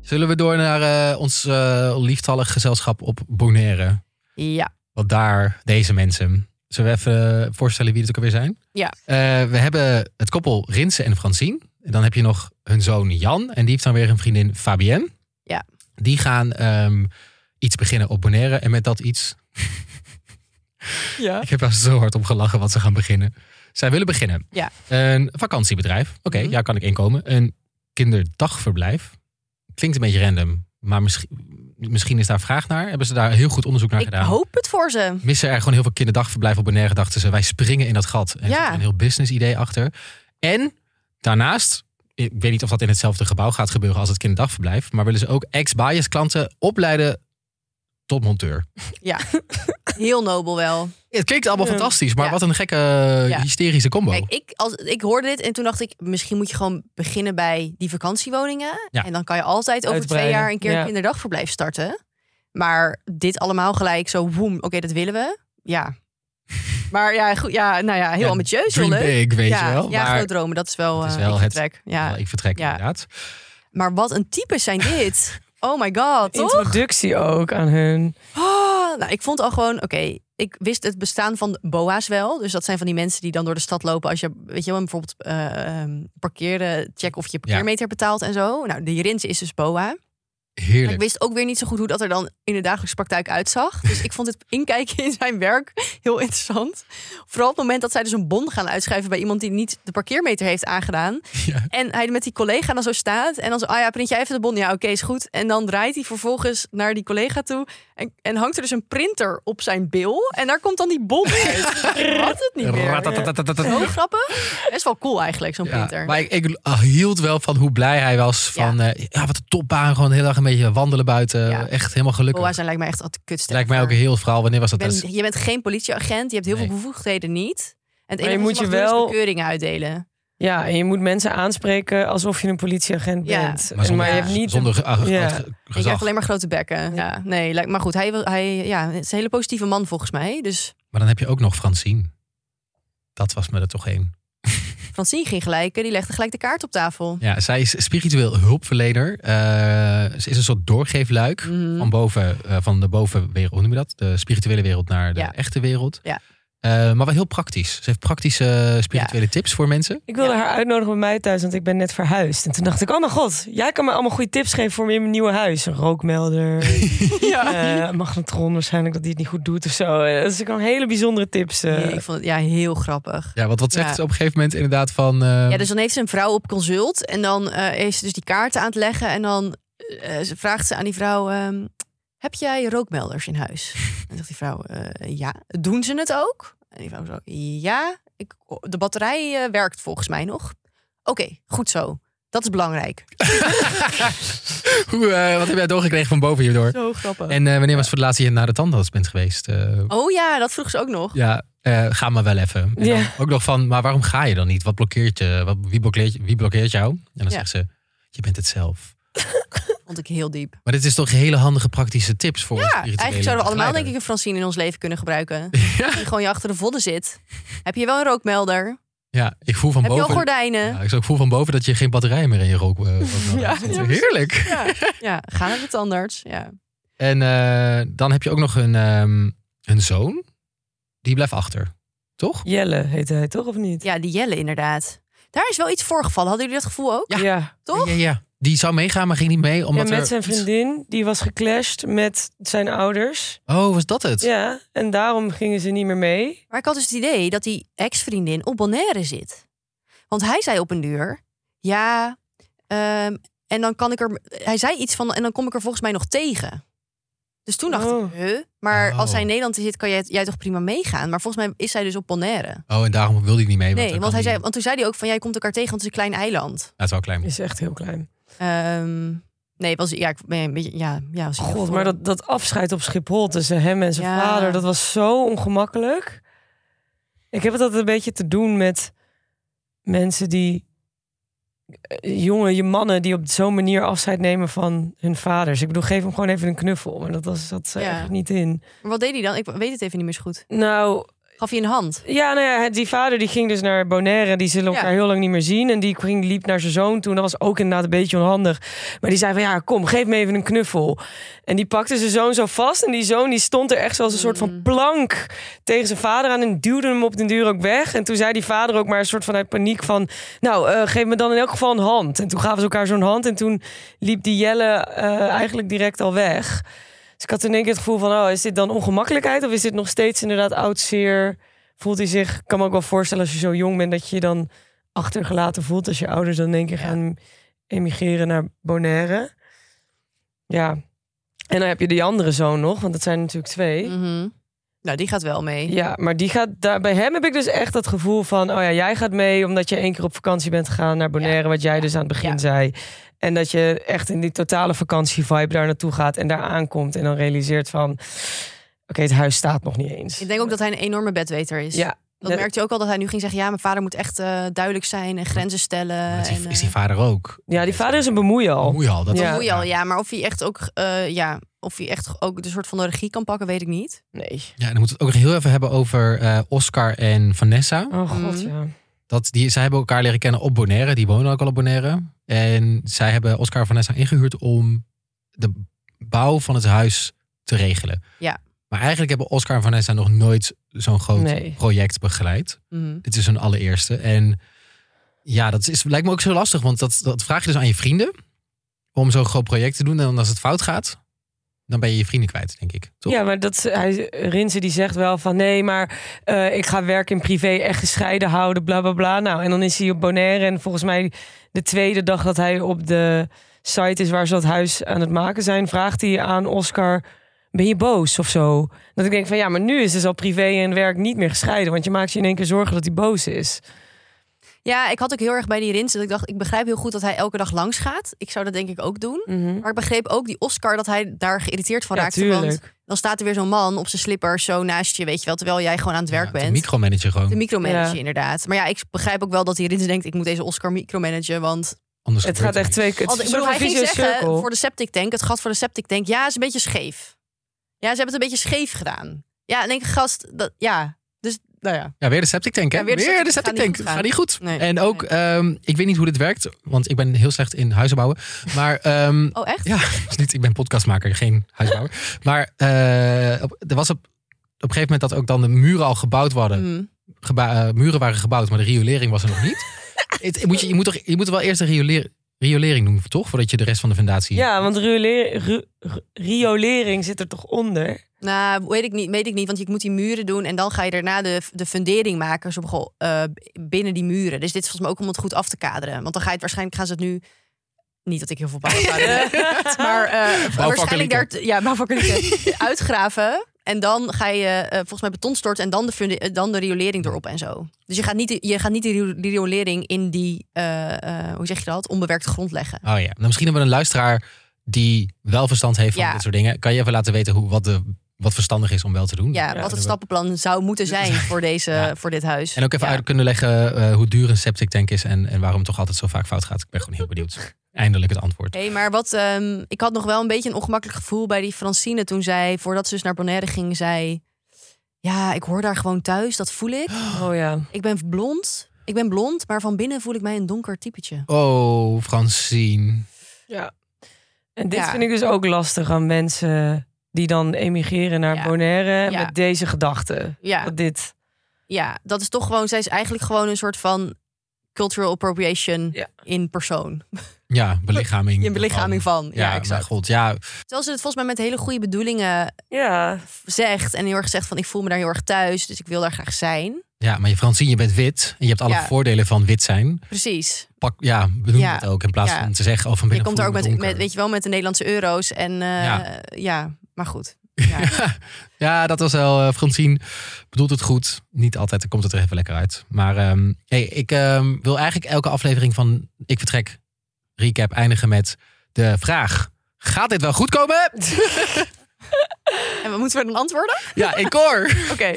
S2: Zullen we door naar eh, ons eh, lieftallig gezelschap op Bonaire?
S3: Ja.
S2: Want daar, deze mensen. Zullen we even voorstellen wie het ook alweer zijn?
S3: Ja.
S2: Eh, we hebben het koppel Rinse en Francine. En dan heb je nog hun zoon Jan. En die heeft dan weer een vriendin Fabienne.
S3: Ja.
S2: Die gaan ehm, iets beginnen op Bonaire. En met dat iets...
S4: Ja.
S2: Ik heb er zo hard om gelachen wat ze gaan beginnen. Zij willen beginnen.
S3: Ja.
S2: Een vakantiebedrijf. Oké,
S3: Mhm.
S2: ja, kan ik inkomen. Een kinderdagverblijf. Klinkt een beetje random. Maar misschien, misschien is daar vraag naar. Hebben ze daar heel goed onderzoek naar
S3: Ik
S2: gedaan?
S3: hoop het voor ze.
S2: missen er gewoon heel veel kinderdagverblijf op Bonaire, dachten ze. Wij springen in dat gat. En er
S3: Ja.
S2: zit een heel business idee achter. En daarnaast, ik weet niet of dat in hetzelfde gebouw gaat gebeuren als het kinderdagverblijf, maar willen ze ook ex-bias klanten opleiden tot monteur.
S3: Heel nobel wel.
S2: Het klinkt allemaal
S4: Ja.
S2: fantastisch, maar
S3: Ja.
S2: wat een gekke
S3: Ja.
S2: hysterische combo.
S3: Kijk, ik, als, ik hoorde dit en toen dacht ik, misschien moet je gewoon beginnen bij die vakantiewoningen.
S2: Ja.
S3: En dan kan je altijd over twee
S4: Uitbreiden.
S3: jaar een keer
S4: Ja.
S3: een kinderdagverblijf starten. Maar dit allemaal gelijk zo, woem, oké, dat willen we. Ja. Maar ja, goed, ja, nou ja, heel
S2: Ja,
S3: ambitieus, heel
S2: Dream
S3: leuk.
S2: big, weet
S3: ja,
S2: je wel.
S3: ja,
S2: maar
S3: groot dromen, dat is wel,
S2: Het is
S3: eh,
S2: wel
S3: ik
S2: het-
S3: vertrek. Ja.
S2: wel, ik vertrek
S3: Ja.
S2: inderdaad.
S3: Maar wat een types zijn dit. Oh my god, toch?
S4: Introductie ook aan hun.
S3: Oh, nou, ik vond al gewoon, oké, ik wist het bestaan van boa's wel. Dus dat zijn van die mensen die dan door de stad lopen als je, weet je wel, bijvoorbeeld eh, ehm, parkeren, check of je parkeermeter betaalt en zo. Nou, die Rins is dus boa. Maar ik
S2: Heerlijk.
S3: wist ook weer niet zo goed hoe dat er dan in de dagelijkse praktijk uitzag. Dus ik vond het inkijken in zijn werk heel interessant. Vooral op het moment dat zij dus een bon gaan uitschrijven bij iemand die niet de parkeermeter heeft aangedaan.
S2: Ja.
S3: En hij met die collega dan zo staat. En dan zo, ah ja, print jij even de bon. Ja, oké, is goed. En dan draait hij vervolgens naar die collega toe. En, en hangt er dus een printer op zijn bil. En daar komt dan die bon uit. Ik had het niet meer.
S2: Ratatatatata.
S3: Zo grappig. Best wel cool eigenlijk, zo'n
S2: Ja,
S3: printer.
S2: maar ik, ik hield wel van hoe blij hij was. Van ja, ja wat een topbaan. Gewoon heel erg een beetje wandelen buiten.
S3: Ja.
S2: Echt helemaal gelukkig.
S3: Boa zijn lijkt mij echt altijd kutster.
S2: Lijkt mij ook een heel verhaal. Wanneer was dat? Dus
S3: Je bent-
S2: Dat is-
S3: je bent geen politieagent, je hebt heel
S2: Nee.
S3: veel bevoegdheden niet. En het
S4: Maar je
S3: enige
S4: moet
S3: wat je
S4: je
S3: mag doen
S4: wel-
S3: is bekeuringen uitdelen.
S4: Ja, en je moet mensen aanspreken alsof je een politieagent
S3: Ja.
S4: bent.
S2: maar
S4: En-
S2: zonder,
S4: maar je
S3: ja.
S4: hebt niet...
S2: zonder ge- ah,
S4: Ja.
S2: groot ge-
S3: Ik krijg
S2: gezag.
S3: alleen maar grote bekken. Ja, nee, lijkt- maar goed, hij, wil- hij ja, het is een hele positieve man volgens mij. Dus
S2: Maar dan heb je ook nog Francine. Dat was me er toch één.
S3: Francine ging gelijk, eh, die legde gelijk de kaart op tafel.
S2: Ja, zij is spiritueel hulpverlener. Eh, ze is een soort doorgeefluik.
S3: Mhm.
S2: Van, boven, eh, van de bovenwereld, hoe noem je dat? De spirituele wereld naar de
S3: Ja.
S2: echte wereld.
S3: Ja.
S2: Eh, maar wel heel praktisch. Ze heeft praktische spirituele tips voor mensen.
S4: Ik wilde
S3: Ja.
S4: haar uitnodigen bij mij thuis, want ik ben net verhuisd. En toen dacht ik, oh mijn god, jij kan me allemaal goede tips geven voor me in mijn nieuwe huis. Een rookmelder,
S2: Eh,
S4: ja.
S3: Eh,
S4: magnetron waarschijnlijk, dat die het niet goed doet of zo. Eh, Dus ik kan hele bijzondere tips. eh.
S3: Nee, ik vond het ja, heel grappig.
S2: Ja, want wat zegt
S3: Ja.
S2: ze op een gegeven moment inderdaad van... eh,
S3: Ja, dus dan heeft ze een vrouw op consult en dan eh, heeft ze dus die kaarten aan het leggen. En dan eh, ze vraagt ze aan die vrouw, ehm, heb jij rookmelders in huis? En dan zegt die vrouw, eh, ja. Doen ze het ook? En die vrouw zo, ja, ik, de batterij eh, werkt volgens mij nog. Oké, goed zo. Dat is belangrijk.
S2: Hoe, eh, wat heb jij doorgekregen van boven hierdoor?
S3: Zo grappig.
S2: En eh, wanneer was het voor de laatste keer naar de tandarts bent geweest? Eh,
S3: Oh ja, dat vroeg ze ook nog.
S2: Ja, eh, ga maar wel even. En dan
S4: Ja.
S2: Ook nog van, maar waarom ga je dan niet? Wat blokkeert je? Wat, wie, blokkeert, wie blokkeert jou? En dan
S3: Ja.
S2: zegt ze, je bent het zelf.
S3: Vond ik heel diep.
S2: Maar dit is toch hele handige praktische tips voor
S3: Ja, eigenlijk zouden we allemaal denk ik een Francine in ons leven kunnen gebruiken. Die
S2: Ja,
S3: gewoon je achter de vodden zit. Heb je wel een rookmelder?
S2: ja, ik voel van
S3: Heb je al
S2: boven...
S3: gordijnen?
S2: Ja, ik voel van boven dat je geen batterij meer in je rook... eh, rook-
S3: Ja,
S2: zit.
S3: ja, precies.
S2: Heerlijk.
S3: Ja, ja ga naar de tandarts. Ja.
S2: En eh, dan heb je ook nog een, ehm, een zoon. Die blijft achter. Toch?
S4: Jelle heette hij toch, of niet?
S3: ja, die Jelle inderdaad. Daar is wel iets voorgevallen. Hadden jullie dat gevoel ook?
S2: Ja.
S3: Toch?
S2: Ja, ja, ja. Die zou meegaan, maar ging niet mee.
S4: Ja,
S2: Omdat
S4: met
S2: er-
S4: zijn vriendin, die was geclashed met zijn ouders.
S2: Oh, was dat het?
S4: Ja, en daarom gingen ze niet meer mee.
S3: Maar ik had dus het idee dat die ex-vriendin op Bonaire zit. Want hij zei op een duur... Ja, ehm, en dan kan ik er... Hij zei iets van... En dan kom ik er volgens mij nog tegen. Dus toen dacht
S4: Oh.
S3: ik... Huh? Maar als
S2: Oh.
S3: hij in Nederland zit, kan jij, jij toch prima meegaan? Maar volgens mij is zij dus op Bonaire.
S2: Oh, en daarom wilde hij niet mee.
S3: Nee,
S2: dan
S3: want,
S2: kan
S3: hij zei, want toen zei hij ook van... Jij komt elkaar tegen, want het is een klein eiland.
S2: Ja, het is wel klein.
S4: Is echt heel klein.
S3: Ehm, nee, was, ja, ik ben een beetje... Ja, ja, was heel
S4: God,
S3: voor-
S4: maar dat, dat afscheid op Schiphol tussen hem en zijn
S3: Ja.
S4: vader, dat was zo ongemakkelijk. Ik heb het altijd een beetje te doen met mensen die eh, jongen, je mannen die op zo'n manier afscheid nemen van hun vaders. Ik bedoel, geef hem gewoon even een knuffel. Maar dat was, zat ze
S3: Ja.
S4: echt niet in.
S3: Maar wat deed hij dan? Ik weet het even niet meer zo goed.
S4: Nou,
S3: Gaf hij een hand?
S4: ja, nou ja, die vader die ging dus naar Bonaire. Die zullen elkaar
S3: Ja.
S4: heel lang niet meer zien. En die ging, liep naar zijn zoon toen. Dat was ook inderdaad een beetje onhandig. Maar die zei van, ja, kom, geef me even een knuffel. En die pakte zijn zoon zo vast. En die zoon die stond er echt zoals een soort van plank tegen zijn vader aan. En duwde hem op den duur ook weg. En toen zei die vader ook maar een soort van uit paniek van... Nou, eh, geef me dan in elk geval een hand. En toen gaven ze elkaar zo'n hand. En toen liep die Jelle eh, eigenlijk direct al weg. Dus ik had toen in één keer het gevoel van... Oh, is dit dan ongemakkelijkheid? Of is dit nog steeds inderdaad oud zeer? Voelt hij zich... Ik kan me ook wel voorstellen als je zo jong bent... dat je je dan achtergelaten voelt als je ouders dan in één keer gaan emigreren naar Bonaire. Ja. En dan heb je die andere zoon nog, want dat zijn natuurlijk twee.
S3: Mhm. Nou, die gaat wel mee.
S4: Ja, maar die gaat daar, bij hem heb ik dus echt dat gevoel van: oh ja, jij gaat mee omdat je één keer op vakantie bent gegaan naar Bonaire, wat jij dus aan het begin
S3: Ja.
S4: zei. En dat je echt in die totale vakantievibe daar naartoe gaat en daar aankomt en dan realiseert van: oké, het huis staat nog niet eens.
S3: Ik denk ook dat hij een enorme bedweter is.
S4: Ja,
S3: Dat
S4: net-
S3: merkte je ook al dat hij nu ging zeggen: ja, mijn vader moet echt eh, duidelijk zijn en grenzen stellen.
S2: Dat
S3: en,
S2: is, is
S3: eh,
S2: die vader ook.
S4: ja, die vader is een bemoeial.
S2: Moei al. Dat
S4: Oh. Ja.
S3: Moet je al, ja, maar of hij echt ook, eh, ja, of hij echt ook de soort van de regie kan pakken, weet ik niet.
S4: Nee.
S2: Ja, dan moeten we het ook heel even hebben over eh, Oscar en Vanessa.
S4: Oh god,
S3: Mhm.
S4: ja.
S2: Dat die, zij hebben elkaar leren kennen op Bonaire. Die wonen ook al op Bonaire. En zij hebben Oscar en Vanessa ingehuurd om de bouw van het huis te regelen.
S3: Ja.
S2: Maar eigenlijk hebben Oscar en Vanessa nog nooit zo'n groot
S4: Nee.
S2: project begeleid.
S3: Mhm.
S2: Dit is hun allereerste. En ja, dat is, lijkt me ook zo lastig. Want dat, dat vraag je dus aan je vrienden. Om zo'n groot project te doen. En dan als het fout gaat, dan ben je je vrienden kwijt, denk ik. Toch?
S4: Ja, maar dat, hij, Rinse die zegt wel van nee, maar eh, ik ga werk en privé echt gescheiden houden, bla bla bla. Nou, en dan is hij op Bonaire en volgens mij de tweede dag dat hij op de site is waar ze dat huis aan het maken zijn, vraagt hij aan Oscar, ben je boos of zo? Dat ik denk van ja, maar nu is dus al privé en werk niet meer gescheiden, want je maakt je in één keer zorgen dat hij boos is.
S3: Ja, ik had ook heel erg bij die Rins dat ik dacht: ik begrijp heel goed dat hij elke dag langs gaat. Ik zou dat denk ik ook doen. Maar ik begreep ook die Oscar dat hij daar geïrriteerd van
S4: Ja,
S3: raakte. Want
S4: tuurlijk.
S3: dan staat er weer zo'n man op zijn slippers zo naast je, weet je wel, terwijl jij gewoon aan het werk
S2: Ja,
S3: bent.
S2: De micromanager gewoon.
S3: De micromanager
S4: Ja.
S3: inderdaad. Maar ja, ik begrijp ook wel dat hij erin denkt, ik moet deze Oscar micromanagen, want...
S2: Anders
S4: Het
S2: gebeurt
S4: gaat
S2: er
S4: echt
S2: niks.
S4: twee keer.
S3: Want,
S4: Het
S3: ik
S4: is
S3: bedoel, hij
S4: een
S3: ging
S4: vicieuze
S3: zeggen
S4: cirkel.
S3: voor de septic tank, het gat voor de septic tank, ja, is een beetje scheef. Ja, ze hebben het een beetje scheef gedaan. Ja, en denk ik, gast, dat, ja, dus, nou ja.
S2: Ja, weer de septic tank, hè?
S3: Ja,
S2: weer de septic,
S3: gaat
S2: tank.
S3: niet goed gaan.
S2: Gaat niet goed.
S3: Nee.
S2: En ook, ehm, ik weet niet hoe dit werkt, want ik ben heel slecht in huizen bouwen. Maar, ehm,
S3: Oh, echt?
S2: ja, is niet, ik ben podcastmaker, geen huisbouwer. Maar eh, op- er was op, op een gegeven moment dat ook dan de muren al gebouwd worden.
S3: Mhm.
S2: Geba- eh, muren waren gebouwd, maar de riolering was er nog niet. Het- moet je, je, moet toch, je moet wel eerst de riolering, riolering doen, toch? Voordat je de rest van de fundatie...
S4: Ja, want riolering, ru- ru- riolering zit er toch onder?
S3: Nou, weet ik, niet, weet ik niet, want je moet die muren doen en dan ga je daarna de, de fundering maken zo, begon- eh, binnen die muren. Dus dit is volgens mij ook om het goed af te kaderen. Want dan ga je het waarschijnlijk, gaan ze het nu, niet dat ik heel veel bouwvakken heb, maar eh, waarschijnlijk daar, ja, bouwvakkelijke uitgraven. En dan ga je eh, volgens mij beton storten en dan de, funde- eh, dan de riolering erop en zo. Dus je gaat niet, de- je gaat niet de rio- die riolering in die, eh, eh, hoe zeg je dat, onbewerkte grond leggen.
S2: Oh ja, nou, misschien hebben we een luisteraar die wel verstand heeft van
S3: Ja.
S2: dit soort dingen. Kan je even laten weten hoe, wat, de, wat verstandig is om wel te doen?
S3: Ja,
S4: Ja,
S3: wat het
S2: dat-
S3: stappenplan zou moeten zijn voor, deze,
S2: Ja.
S3: voor dit huis.
S2: En ook even
S3: Ja.
S2: uit kunnen leggen eh, hoe duur een septic tank is en, en waarom het toch altijd zo vaak fout gaat. Ik ben gewoon heel benieuwd. Eindelijk het antwoord.
S3: Hé, maar wat, ehm, ik had nog wel een beetje een ongemakkelijk gevoel bij die Francine toen zij, voordat ze dus naar Bonaire ging, zei: Ja, ik hoor daar gewoon thuis, dat voel ik.
S4: Oh ja.
S3: Ik ben blond, ik ben blond, maar van binnen voel ik mij een donker typetje.
S2: Oh, Francine.
S4: Ja. En dit
S3: Ja.
S4: vind ik dus ook lastig aan mensen die dan emigreren naar
S3: Ja.
S4: Bonaire
S3: Ja.
S4: met deze gedachten.
S3: Ja,
S4: Dat dit.
S3: ja, dat is toch gewoon, zij is eigenlijk gewoon een soort van cultural appropriation
S4: Ja.
S3: in persoon.
S2: Ja, belichaming.
S3: In belichaming van. Ja,
S2: Ja,
S3: exact.
S2: mijn god. Ja,
S3: Terwijl ze het volgens mij met hele goede bedoelingen
S4: Ja.
S3: zegt en heel erg zegt van ik voel me daar heel erg thuis, dus ik wil daar graag zijn.
S2: ja, maar je Francine, je bent wit. En je hebt alle
S3: Ja.
S2: voordelen van wit zijn.
S3: Precies.
S2: Pak, ja, benoem
S3: Ja.
S2: het ook. In plaats
S3: Ja.
S2: van te zeggen, oh, van
S3: Je
S2: binnen
S3: komt daar ook
S2: voel ik
S3: met,
S2: me
S3: met, weet
S2: donker.
S3: je wel, met de Nederlandse euro's. En eh,
S2: Ja.
S3: ja. maar goed. Ja.
S2: Ja, dat was wel. eh, Francine bedoelt het goed. Niet altijd dan komt het er even lekker uit. Maar ehm, hey, ik ehm, wil eigenlijk elke aflevering van Ik Vertrek Recap eindigen met de vraag. Gaat dit wel goed komen?
S3: En wat moeten we dan antwoorden?
S2: Ja, ik hoor. Oké.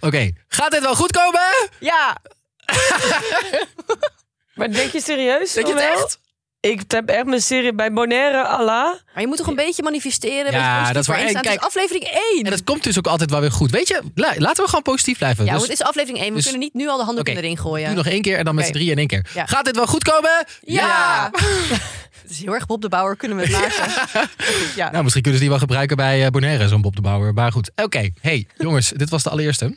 S3: Oké.
S2: Gaat dit wel goed komen?
S3: Ja.
S4: Maar denk je serieus?
S5: Denk je het
S4: wel?
S5: echt?
S4: Ik heb echt mijn serie bij Bonaire, Allah.
S3: Maar je moet toch een beetje manifesteren. een
S2: Ja,
S3: beetje positief
S2: dat is waar.
S3: voor instaan.
S2: En
S3: Het is aflevering 1.
S2: En dat komt dus ook altijd wel weer goed. Weet je, la- laten we gewoon positief blijven.
S3: ja,
S2: Dus
S3: want het is aflevering 1. We
S2: dus-
S3: kunnen niet nu al de handen
S2: Oké.
S3: erin gooien.
S2: nu nog één keer en dan met
S3: Oké.
S2: z'n drieën in één keer.
S3: Ja.
S2: Gaat dit wel goed komen?
S3: Ja! het is heel erg Bob de Bauer, kunnen we het maken. Ja.
S2: Nou, misschien kunnen ze die wel gebruiken bij eh, Bonaire, zo'n Bob de Bauer. Maar goed, oké. Hey, jongens, dit was de allereerste.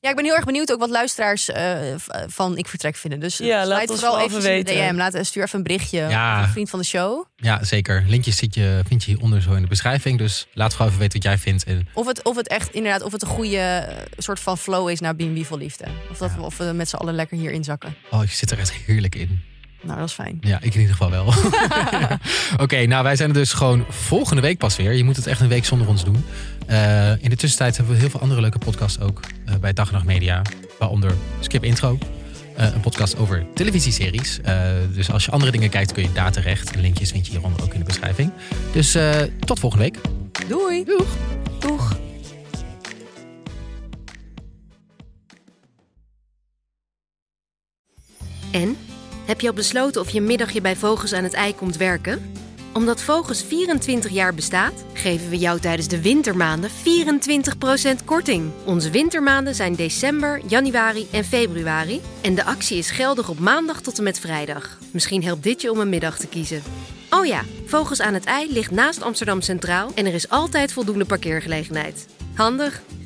S3: Ja, ik ben heel erg benieuwd ook wat luisteraars eh, v- van Ik Vertrek vinden. Dus
S4: Ja, laat
S3: sluit
S4: ons
S3: vooral
S4: wel
S3: even
S4: even
S3: in de
S4: weten.
S3: DM. Laat, eh, stuur even een berichtje.
S2: Ja.
S3: Of Een vriend van de show.
S2: Ja, zeker. Linkjes zit je, vind je hieronder zo in de beschrijving. Dus laat vooral even weten wat jij vindt. En
S3: Of het, of het echt inderdaad, of het een goede eh, soort van flow is naar B&B voor Liefde. Of, dat
S2: Ja.
S3: we, of we met z'n allen lekker hierin zakken.
S2: oh, je zit er echt heerlijk in.
S3: Nou, dat is fijn.
S2: Ja, ik in ieder geval wel. Oké, nou wij zijn er dus gewoon volgende week pas weer. Je moet het echt een week zonder ons doen. Eh, in de tussentijd hebben we heel veel andere leuke podcasts ook eh, bij Dag en Nacht Media. Waaronder Skip Intro. eh, een podcast over televisieseries. Eh, dus als je andere dingen kijkt kun je daar terecht. En linkjes vind je hieronder ook in de beschrijving. Dus eh, tot volgende week.
S3: Doei!
S2: Doeg!
S3: Doeg!
S1: En? Heb je al besloten of je middagje bij Vogels aan het ei komt werken? Omdat Vogels 24 jaar bestaat, geven we jou tijdens de wintermaanden 24% korting. Onze wintermaanden zijn december, januari en februari. En de actie is geldig op maandag tot en met vrijdag. Misschien helpt dit je om een middag te kiezen. Oh ja, Vogels aan het ei ligt naast Amsterdam Centraal en er is altijd voldoende parkeergelegenheid. Handig!